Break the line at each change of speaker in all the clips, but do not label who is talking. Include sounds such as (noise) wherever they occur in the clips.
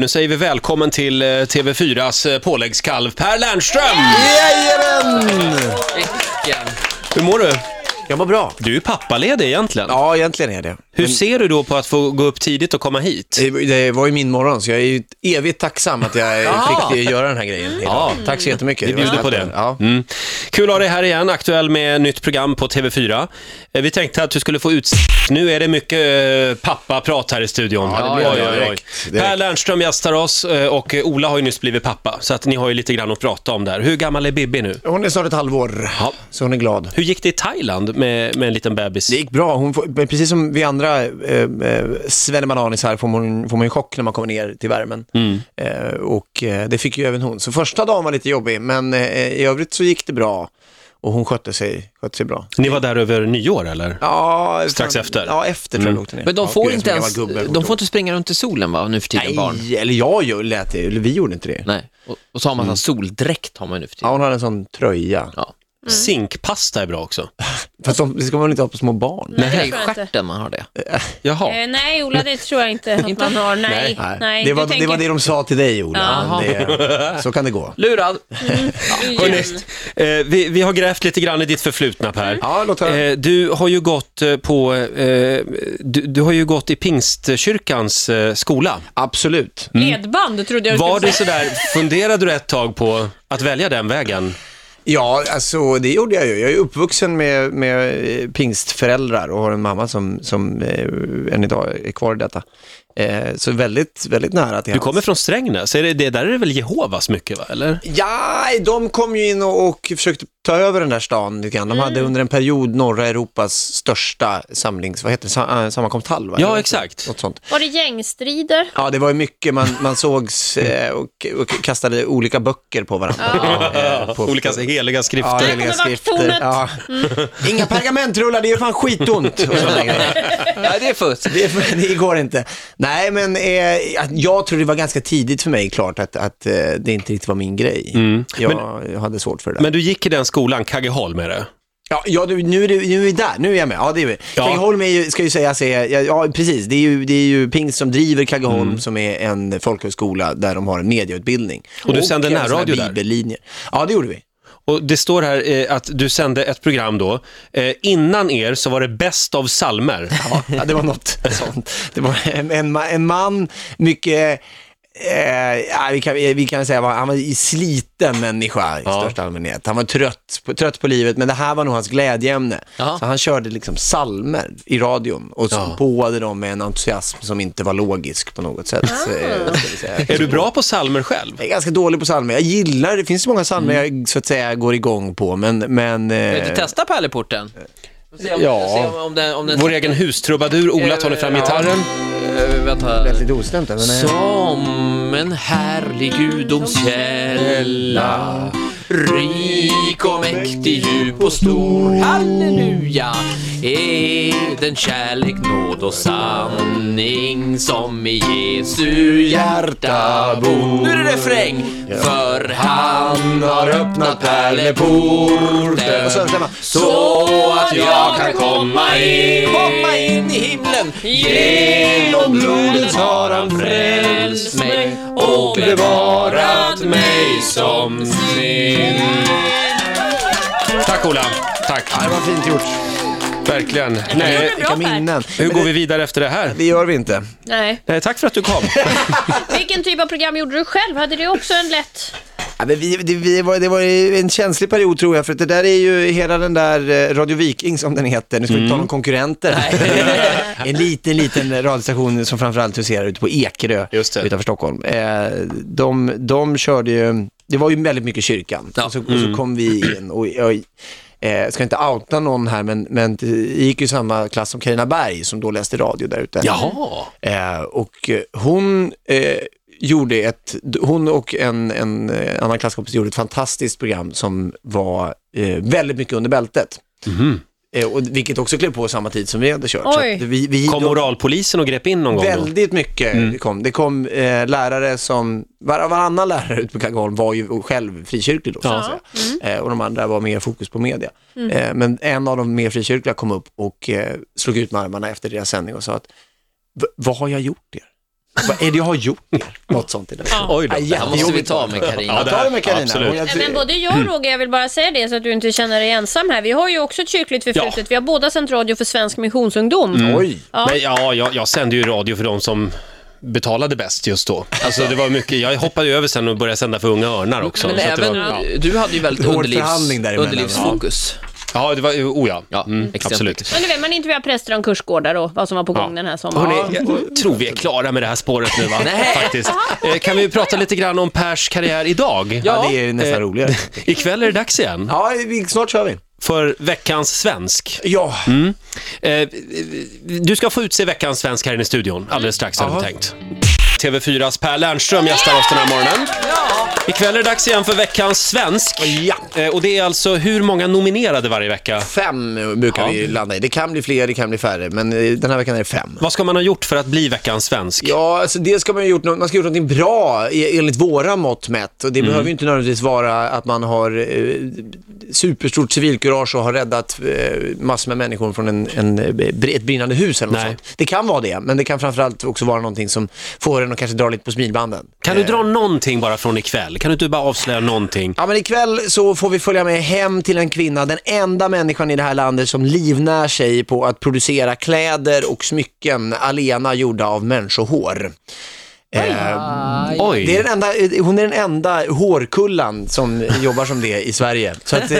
Nu säger vi välkommen till eh, TV4s eh, påläggskalv Per Lernström!
Jajamän!
Hur mår du?
Jag mår bra.
Du är pappaledig egentligen.
Ja, egentligen är det.
Hur ser du då på att få gå upp tidigt och komma hit?
Det- Det var ju min morgon, så jag är ju evigt tacksam att jag fick göra den här grejen idag.
Ja.
Tack så jättemycket.
Vi bjuder
var
på
snällt.
det.
Ja.
Mm. Kul att ha dig här igen, aktuell med nytt program på TV4. Eh, Vi tänkte att du skulle få ut... Nu är det mycket eh, pappaprat här i studion.
Ja, det blir det. Direkt, direkt.
Per Lernström gästar oss eh, och eh, Ola har ju nyss blivit pappa, så att ni har ju lite grann att prata om där. Hur gammal är Bibi nu?
Hon är snart ett halvår,
Ja.
så hon är glad.
Hur gick det i Thailand med, med en liten bebis?
Det gick bra. Hon får, men precis som vi andra eh, eh, svennemananis här får man, får man ju chock när man kommer ner till värmen.
Mm.
Eh, och eh, det fick ju även hon. Så första dagen var lite jobbig, men eh, i övrigt så gick det bra. Och hon skötte sig, skötte sig bra.
Ni var där över nyår eller?
Ja,
Strax
fan-
efter. Mm.
Ja, efter tror jag vi åkte ner.
Men de
Ja,
får
gud, jag är
inte
som en
ens,
gammal gubbe, jag kommer
de
inte
får inte springa runt i solen va, nu för tiden barn?
Nej, eller jag gör- lät det, eller vi gjorde inte det.
Nej. Och, och så har man mm. soldräkt har man nu för
Ja,
tiden.
hon hade en sån tröja.
Ja.
Mm.
Zinkpasta är bra också.
Fast de, det ska man väl inte ha på små barn?
Nej, det är i
tror jag inte.
stjärten man har det.
Jaha.
Eh, nej, Ola, det tror jag inte att man har. Nej, nej.
Det,
Du
var,
tänker-
det var det de sa till dig, Ola.
Ja.
Det, (laughs) så kan det gå.
Lurad!
igen.
Hörrni, eh, vi, vi har grävt lite grann i ditt förflutna Per.
Mm. Ja, låt höra.
Eh, du har ju gått eh, på, eh, du, du har ju gått i Pingstkyrkans eh, skola.
Absolut.
Ledband trodde jag
Var
skulle
det
säga.
sådär, funderade du ett tag på att välja den vägen?
Ja, alltså det gjorde jag ju. Jag är uppvuxen med, med eh, pingstföräldrar och har en mamma som, som eh, än idag är kvar i detta. Eh, så väldigt, väldigt nära till
Du
hands.
kommer från Strängnäs, är det, det där är det väl Jehovas mycket va, eller?
Ja, de kom ju in och, och försökte ta över den där stan lite grann. De hade
Mm.
under en period norra Europas största samlings, vad heter det, Sa- äh, sammankomsthall? va?
Ja, exakt.
Något sånt.
Var det gängstrider?
Ja, det var ju mycket man,
(laughs)
man sågs
Mm.
eh, och, och kastade olika böcker på varandra. Eh,
(laughs)
på-
Olika Mm. heliga
Ja,
skrifter.
heliga
kommer
skrifter.
vakttornet.
Ja. Inga pergamentrullar, det gör fan skitont. Och sådana grejer.
Ja, det är fusk.
Det, det går inte. Nej, men eh, att- jag tror det var ganska tidigt för mig klart att, att eh, det inte riktigt var min grej. Jag, jag hade svårt för det där.
Mm. Men du gick i den skolan, Kaggeholm är det?
Ja, ja du, nu, är det, nu är vi där, nu är jag med. Ja, det är vi.
Ja.
Kaggeholm är ju, ska ju sägas, är, ja, ja precis, det är ju, det är ju Pingst som driver Kaggeholm
Mm.
som är en folkhögskola där de har en medieutbildning.
Och du sänder
en sån här
närradio där?
bibellinje. Ja, det gjorde vi.
Och det står här eh, att du sände ett program då. Eh, innan er så var det bäst av salmer.
Ja, ja, det var något sånt. Det var en, en, ma- en man, mycket, eh, ja, vi, kan, vi kan säga, var- han var en sliten människa i största allmänhet. Han var trött på, trött på livet, men det här var nog hans glädjeämne.
Ja.
Så han körde liksom salmer i radion och så påade dem med en entusiasm som inte var logisk på något sätt. eh, Ska vi säga.
Är du bra på salmer själv?
Jag är ganska dålig på psalmer. Jag gillar, det finns många psalmer jag så att säga går igång på, men... men
Vill
eh,
du testa pärleporten? Får Se om,
Ja.
se om, om den, om den...
Vår egen hustrubadur Ola tar nu fram
Ja.
gitarren.
Eh, vänta.
lite ostämt, men... eh,
Som en härlig gudomskälla Rik och mäktig, djup och stor Halleluja Är den kärlek, nåd och sanning Som i Jesu hjärta bor Nu är det refräng! För han har öppnat
Och så, vänta,
pärleporten
man.
Så att jag kan komma in Komma in i himlen
Genom blodet
har han
frälst mig och
bevarat
mig
som sin.
Tack Ola. Tack.
Ja, det var fint gjort.
Verkligen. Nej,
Bra,
Vilka
Per.
minnen.
hur går vi vidare efter det här?
Det gör vi inte.
Nej.
Nej, tack för att du
(laughs)
kom.
Vilken typ av program gjorde du själv? Hade du också en lätt...
Ja, men vi, det, vi var, det var ju en känslig period tror jag, för att det där är ju hela den där eh, Radio Viking som den heter. Nu ska vi inte ta
Mm.
någon konkurrenter. (laughs) en liten, liten radiostation som framförallt huserar ute på Ekerö
Just det.
utanför Stockholm. Eh, de, de körde ju, det var ju väldigt mycket kyrkan.
Ja.
Och, så,
Mm.
och så kom vi in och jag eh, ska inte outa någon här, men, men jag gick ju i samma klass som Carina Berg som då läste radio där ute.
Jaha.
Eh, och eh, hon eh, gjorde ett, hon och en, en eh, annan klasskompis gjorde ett fantastiskt program som var eh, väldigt mycket under bältet. Eh, och, vilket också klev på samma tid som vi hade kört. Så
Oj.
att vi, vi,
Kom moralpolisen och grep in någon gång då? Mm.
Väldigt mycket kom. Det kom eh, lärare som, var, varannan lärare ute på Kaggeholm var ju själv frikyrklig då, så att
Ja.
säga.
Mm.
Eh, och de andra var mer fokus på media. Eh, men en av de mer frikyrkliga kom upp och eh, slog ut med armarna efter deras sändning och sa att "V- vad har jag gjort er? Vad är det jag har gjort?
(laughs)
Något sånt. I det.
Oj då.
Ja,
Det här måste vi
jättejobbigt.
ta med Carina.
Ja,
Jag tar det med Carina.
Absolut.
Och jag-
Nej, Men både jag och Roger, jag vill bara säga det så att du inte känner dig ensam här. Vi har ju också ett kyrkligt förflutet.
Ja.
Vi har båda sänt radio för svensk missionsungdom.
Oj.
Ja.
Men ja, jag, jag sände ju radio för de som betalade bäst just då. Alltså det var mycket, jag hoppade ju över sen och började sända för Unga Örnar också.
Men
så att det
även,
var, ja.
du hade ju väldigt
Hård
underlivs,
förhandling däremellan.
underlivsfokus.
ja, det var, oh ja.
Ja,
mm,
exempelvis.
absolut.
Men du vet, man intervjuar präster om kursgårdar och vad som var på gång den här sommaren.
Hörrni, jag tror vi är klara med det här spåret nu (laughs) va?
Nej.
Faktiskt. Eh, Kan vi prata lite grann om Pers karriär idag?
Ja, det är
Eh,
nästan roligare.
Ikväll är det dags igen
Ja, vi- snart kör vi.
för veckans svensk.
Ja,
Eh, du ska få utse veckans svensk här inne i studion alldeles strax hade vi tänkt. TV4s Per Lernström gästar oss den här morgonen. Ikväll är det dags igen för veckans svensk.
Ja.
Eh, Och det är alltså hur många nominerade varje vecka?
fem eh, brukar
Ja.
vi landa i. Det kan bli fler, det kan bli färre, men eh, den här veckan är det fem.
Vad ska man ha gjort för att bli veckans svensk?
Ja, alltså det ska man ju gjort, nå- man ska ha gjort någonting bra e- enligt våra mått mätt. Och det
Mm.
behöver ju inte nödvändigtvis vara att man har eh, superstort civilkurage och har räddat eh, massor med människor från en, en, eh, br- ett brinnande hus eller något
Nej.
sånt. Det kan vara det, men det kan framförallt också vara någonting som får en att kanske dra lite på smilbanden.
Kan du dra någonting bara från ikväll? Kan du inte bara avslöja någonting?
Ja, men ikväll så får vi följa med hem till en kvinna, den enda människan i det här landet som livnär sig på att producera kläder och smycken alena gjorda av människohår. Eh,
Oj!
det är den enda, eh, hon är den enda hårkullan som jobbar som det i Sverige. Så att, eh,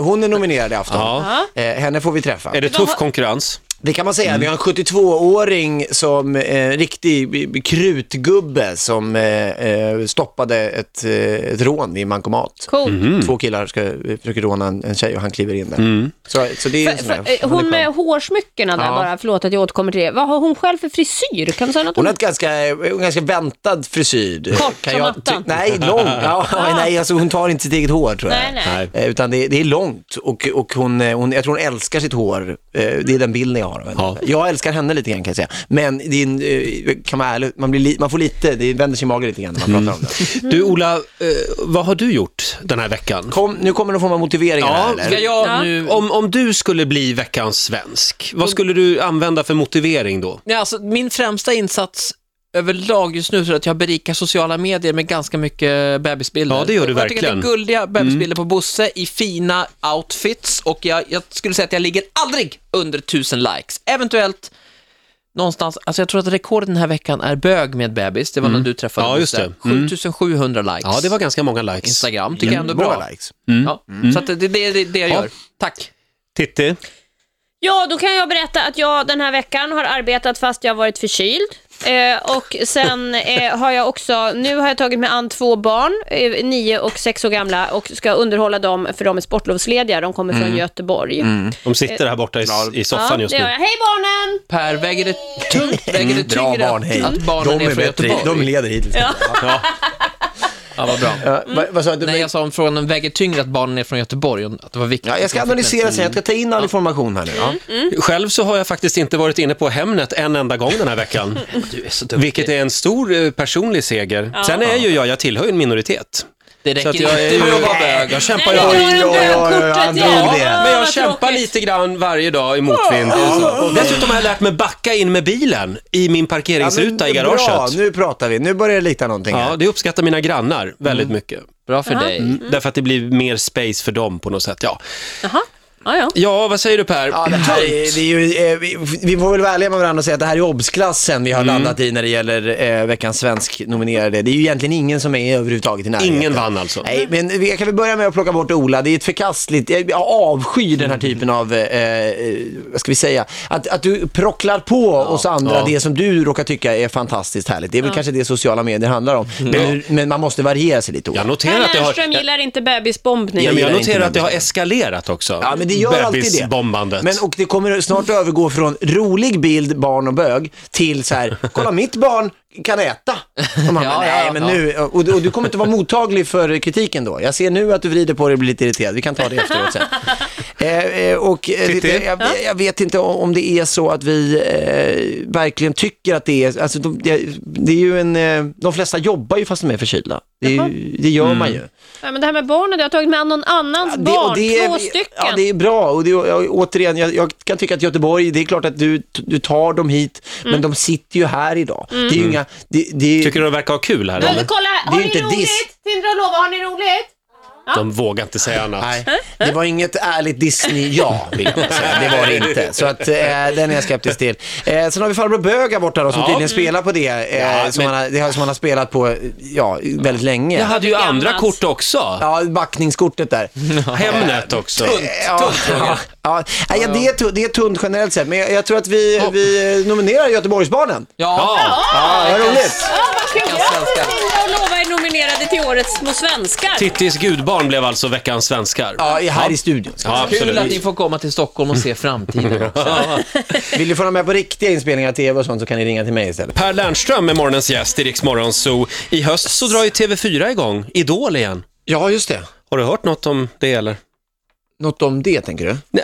hon är nominerad i afton.
Ja.
Eh, henne får vi träffa.
Är det tuff konkurrens?
Det kan man säga. Vi har en 72-åring som eh, riktig b- b- krutgubbe som eh, eh, stoppade ett, eh, ett rån i bankomat.
Coolt.
Två killar ska, eh, försöker råna en, en tjej och han kliver in där. Så, så det är en
För-
sån här-
för- eh,
han är
Hon
skön.
med hårsmyckena där
Ja.
bara, förlåt att jag återkommer till det. Vad har hon själv för frisyr? Kan du säga något om
Hon har
det?
ett ganska, eh, en ganska väntad frisyr.
Kort som attan.
Nej, lång. Ja,
(laughs)
nej, alltså hon tar inte sitt eget hår tror jag.
Nej, nej.
Nej.
Eh, Utan det, det är långt och, och hon, eh, hon, jag tror hon älskar sitt hår. Eh, Det är den bilden jag har av henne.
Ja.
Jag älskar henne lite grann kan jag säga. Men det är, en, eh, kan man, vara ärlig, man, blir li, man får lite, det vänder sig i magen lite grann när man pratar om det.
Du Ola, eh, vad har du gjort den här veckan?
Kom, nu kommer någon form av motivering här eller?
ska jag
Ja.
nu... Om, om du skulle bli veckans svensk, vad skulle du använda för motivering då?
Nej, alltså, min främsta insats överlag just nu så är att jag berikar sociala medier med ganska mycket bebisbilder.
Ja, det gör du
jag Jag tycker
verkligen. Mm.
att det är gulliga bebisbilder på Bosse i fina outfits och jag, jag skulle säga att jag ligger aldrig under 1000 likes. Eventuellt någonstans, alltså jag tror att rekordet den här veckan är bög med bebis, det var när du träffade
Mm. Ja, just
Bosse.
det. Mm.
7700 likes.
Ja, det var Mm. ganska många likes.
Instagram tycker jag ändå är bra.
Bra likes.
Ja. Så att det det är det, det jag
Mm. Ja.
gör. Tack.
Titti?
Ja, då kan jag berätta att jag den här veckan har arbetat fast jag har varit förkyld. Eh, och sen eh, har jag också, nu har jag tagit mig an två barn, eh, nio och sex år gamla och ska underhålla dem för de är sportlovslediga, de kommer från
Mm.
Göteborg.
De sitter här borta i, i
Ja,
soffan
det
just
gör
nu.
jag. Hej barnen!
Per, väger det tungt? Väger
Mm.
det
Mm, Bra
tyngre
barn, hej.
att barnen
de
är från
bättre,
Göteborg?
de leder hittills. Ja. Eh,
Ja, vad bra.
Vad, vad sa du?
Nej, jag sa om frågan väger tyngre att barnen är från Göteborg, och att det var viktigt.
Ja, jag ska analysera sen, jag ska ta in all information här nu. Ja.
Själv så har jag faktiskt inte varit inne på Hemnet en enda gång den här veckan.
Du är så duktig.
Vilket är en stor eh, personlig seger. Sen är ju jag, jag tillhör ju en minoritet.
Det
Så
räcker
att jag är
inte med att
ju...
vara bög.
Jag kämpar
Nej,
ju...
jag
oj,
har
oj,
en
oj,
bögkortet
han drog
igen.
det.
Ja,
Men jag
vad
kämpar
tråkigt.
lite grann varje dag i motvind. Och dessutom har jag lärt mig backa in med bilen i min
Ja, men
parkeringsruta i
Bra,
garaget.
nu pratar vi. Nu börjar det likna någonting
Ja,
här.
det uppskattar mina grannar
Mm.
väldigt mycket. Mm.
Bra för dig.
Därför att det blir mer space för dem på något sätt. Ja,
Jaha, ja, ja.
ja vad säger du Per?
Ja, det här är, det är ju, eh, vi, vi får väl vara ärliga med varandra och säga att det här är obsklassen vi har landat i när det gäller eh, veckans svensk nominerade. Det är ju egentligen ingen som är överhuvudtaget i närheten.
Ingen vann alltså.
Nej, men vi kan väl börja med att plocka bort Ola. Det är ett förkastligt, jag avskyr den
Mm.
här typen av, eh, eh, vad ska vi säga, att, att du procklar på oss andra
Ja.
det som du råkar tycka är fantastiskt härligt. Det är väl kanske det sociala medier handlar om.
Mm.
Men, men man måste variera sig lite. Ola.
Jag noterar
Per
att det har...
Lernström gillar inte bebisbombning.
Ja,
Jag
men jag
gillar inte
noterar att det har
människor.
eskalerat också.
Ja, men det gör alltid det.
Bebisbombandet.
Men, och det kommer snart övergå från rolig bild, barn och bög, till så här, kolla mitt barn kan äta.
(laughs)
Och man,
Ja,
bara, nej,
ja,
men
ja.
nu, och, du- och du kommer
(laughs)
inte vara mottaglig för kritiken då. Jag ser nu att du vrider på dig och blir lite irriterad. Vi kan ta det efteråt sen. Eh, eh, och eh,
Titti?
det- jag, jag vet inte om om det är så att vi eh, verkligen tycker att det är, alltså de, det, det är ju en, eh, de flesta jobbar ju fast de är förkylda. Det, är ju, det gör man ju.
Ja, men det här med barnen, du har tagit med någon annans
Ja,
barn,
och det är-
två stycken.
Ja, det är bra. Och det, är- ja, återigen, jag, jag kan tycka att Göteborg, det är klart att du, du tar dem hit,
Mm.
men de sitter ju här idag. Det är ju inga... Det, det,
Tycker du de verkar ha kul här?
Men
eller?
kolla här,
Det
har
är
ni
inte
roligt?
diss.
Tindra och Lova, har ni roligt?
De vågar inte säga annat.
Nej, det var inget ärligt Disney-ja, vill (laughs) jag bara säga. Det var det inte. Så att, eh, den är jag skeptisk till. Eh, sen har vi farbror Bög här borta då, som
Ja.
tydligen spelar på det, eh,
Ja,
som
men-
han har, det här som han har spelat på ja, väldigt länge.
Jag hade ju
Gammalt.
andra kort också.
Ja, backningskortet (laughs) där.
Hemnet
(laughs)
också.
Ja, ja, ja. Nej, ja, det, är tunt, det är tunt generellt sett, men jag, jag tror att vi, vi nominerar Göteborgsbarnen.
Ja,
Ja, vad roligt.
Ja, vad kul! Grattis Tindra och Lova är nominerade till årets Små svenskar.
Tittis gudbarn blev alltså veckans svenskar.
Ja, i- här i studion. ska jag
Ja,
Kul att ni
absolut.
får komma till Stockholm och se framtiden också.
säga. Vill du få vara med på riktiga inspelningar av tv och sånt så kan ni ringa till mig istället.
Per Lernström är morgonens gäst i Rix Morgon Zoo. I höst så drar ju TV4 igång, Idol igen.
Ja, just det.
Har du hört något om det eller?
Något om det, tänker du?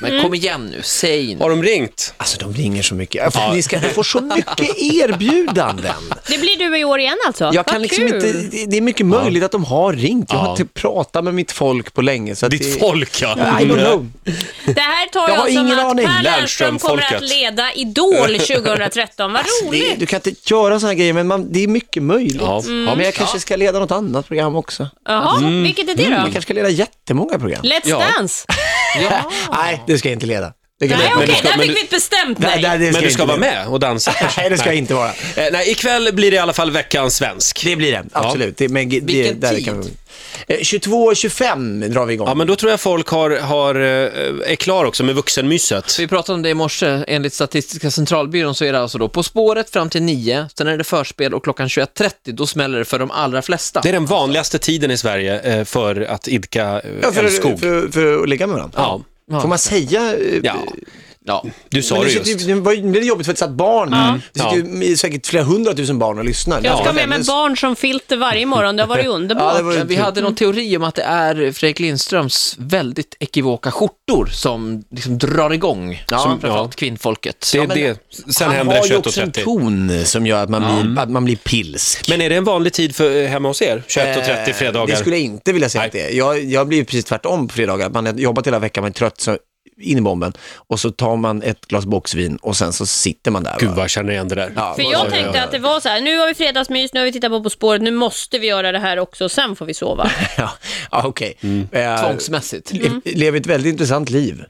Men kom igen nu, säg nu.
Har de
(laughs)
ringt?
Alltså de ringer så mycket. Jag får, ni ska få så mycket erbjudanden.
Det blir du i år igen alltså?
Jag kan
Vad
liksom
kul.
inte, det- det är mycket möjligt att de har ringt. Jag har
Ja.
inte pratat med mitt folk på länge. Så att det,
Ditt folk ja.
I don't know.
Det här tar
Jag
jag,
har
som
ingen
att
aning.
Per Lernström kommer att
Lernström-folket.
leda
(laughs)
Idol 2013. Vad
Alltså, Det,
roligt!
du kan inte göra sådana grejer, men man, det är mycket möjligt.
Ja.
Ja, men jag kanske ska leda något annat program också.
Jaha,
Mm.
vilket är det
Jag
då?
kanske ska leda jättemånga program.
Let's
Ja.
Dance?
(laughs) Nej, det ska jag inte leda. Det kan
Nej,
jag
men
okej,
du ska-
där
men
fick
du-
vi ett bestämt
Nej, nej,
nej.
det
Men du
jag
ska
inte
vara
leda.
med och dansa kanske?
(laughs) Nej, det ska jag inte vara.
Eh, nej, ikväll blir det i alla fall veckans svensk.
Det blir det, absolut. Det, men, det,
Vilken
där
tid?
Kan vi... Eh, 22.25 drar vi igång.
Ja, men då tror jag folk har, har, eh, är klar också med vuxenmyset.
Vi pratade om det i morse. Enligt Statistiska centralbyrån så är det alltså då På spåret fram till 9, sen är det förspel och klockan 21.30 då smäller det för de allra flesta.
Det är den vanligaste tiden i Sverige eh, för att idka eh,
Ja, för,
älskog.
för, för att ligga med varandra.
Ja,
Får man säga? eh,
ja,
Ja.
du sa
men
det
det sitter
just.
ju- Det var ju- det är jobbigt för att det satt barn. Mm. Det sitter ju säkert flera hundratusen barn och lyssnar.
Jag ska
Ja,
med med barn som filter varje morgon, det har varit underbart.
(laughs) Ja, det var ju
Men vi
kul.
Mm.
hade någon teori om att det är Fredrik Lindströms väldigt ekivoka skjortor som liksom drar igång, som framförallt kvinnfolket.
Det är
Ja, men-
det. Sen
Han
händer
har ju
det
också en
21.30.
ton som gör att man, blir, att man blir pilsk.
Men är det en vanlig tid för, eh, hemma hos er? 21.30
Eh,
fredagar?
Det skulle jag inte vilja säga att det är. Jag, jag blir ju precis tvärtom på fredagar. Att Man har jobbat hela veckan, man är trött, så in i bomben. Och så tar man ett glas boxvin och sen så sitter man där.
Gud
va?
vad jag känner igen det där.
Ja,
För
vad-
jag tänkte att det var så här, nu har vi fredagsmys, nu har vi tittat på På spåret, nu måste vi göra det här också och sen får vi sova.
(laughs) Ja, ja okej. Eh,
Tvångsmässigt.
le- Lever ett väldigt intressant liv.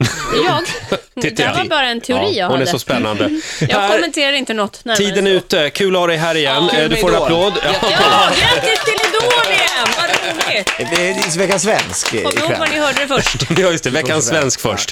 Jag?
(laughs) Titta,
Det
ja.
här var bara en teori jag
Hon är
hade.
så
(laughs)
spännande.
Jag
Här,
kommenterar inte något närmare
tiden är
än så.
ute. Kul att ha dig här igen.
Kul
Eh, Du
med
får en
Idol.
applåd. Ja.
Ja, grattis till Idol igen! Vad roligt!
Eh, Det är Veckans svensk eh,
Kom ihåg
ikväll.
var ni hörde det först.
(laughs) Ja, just det. Veckans svensk först.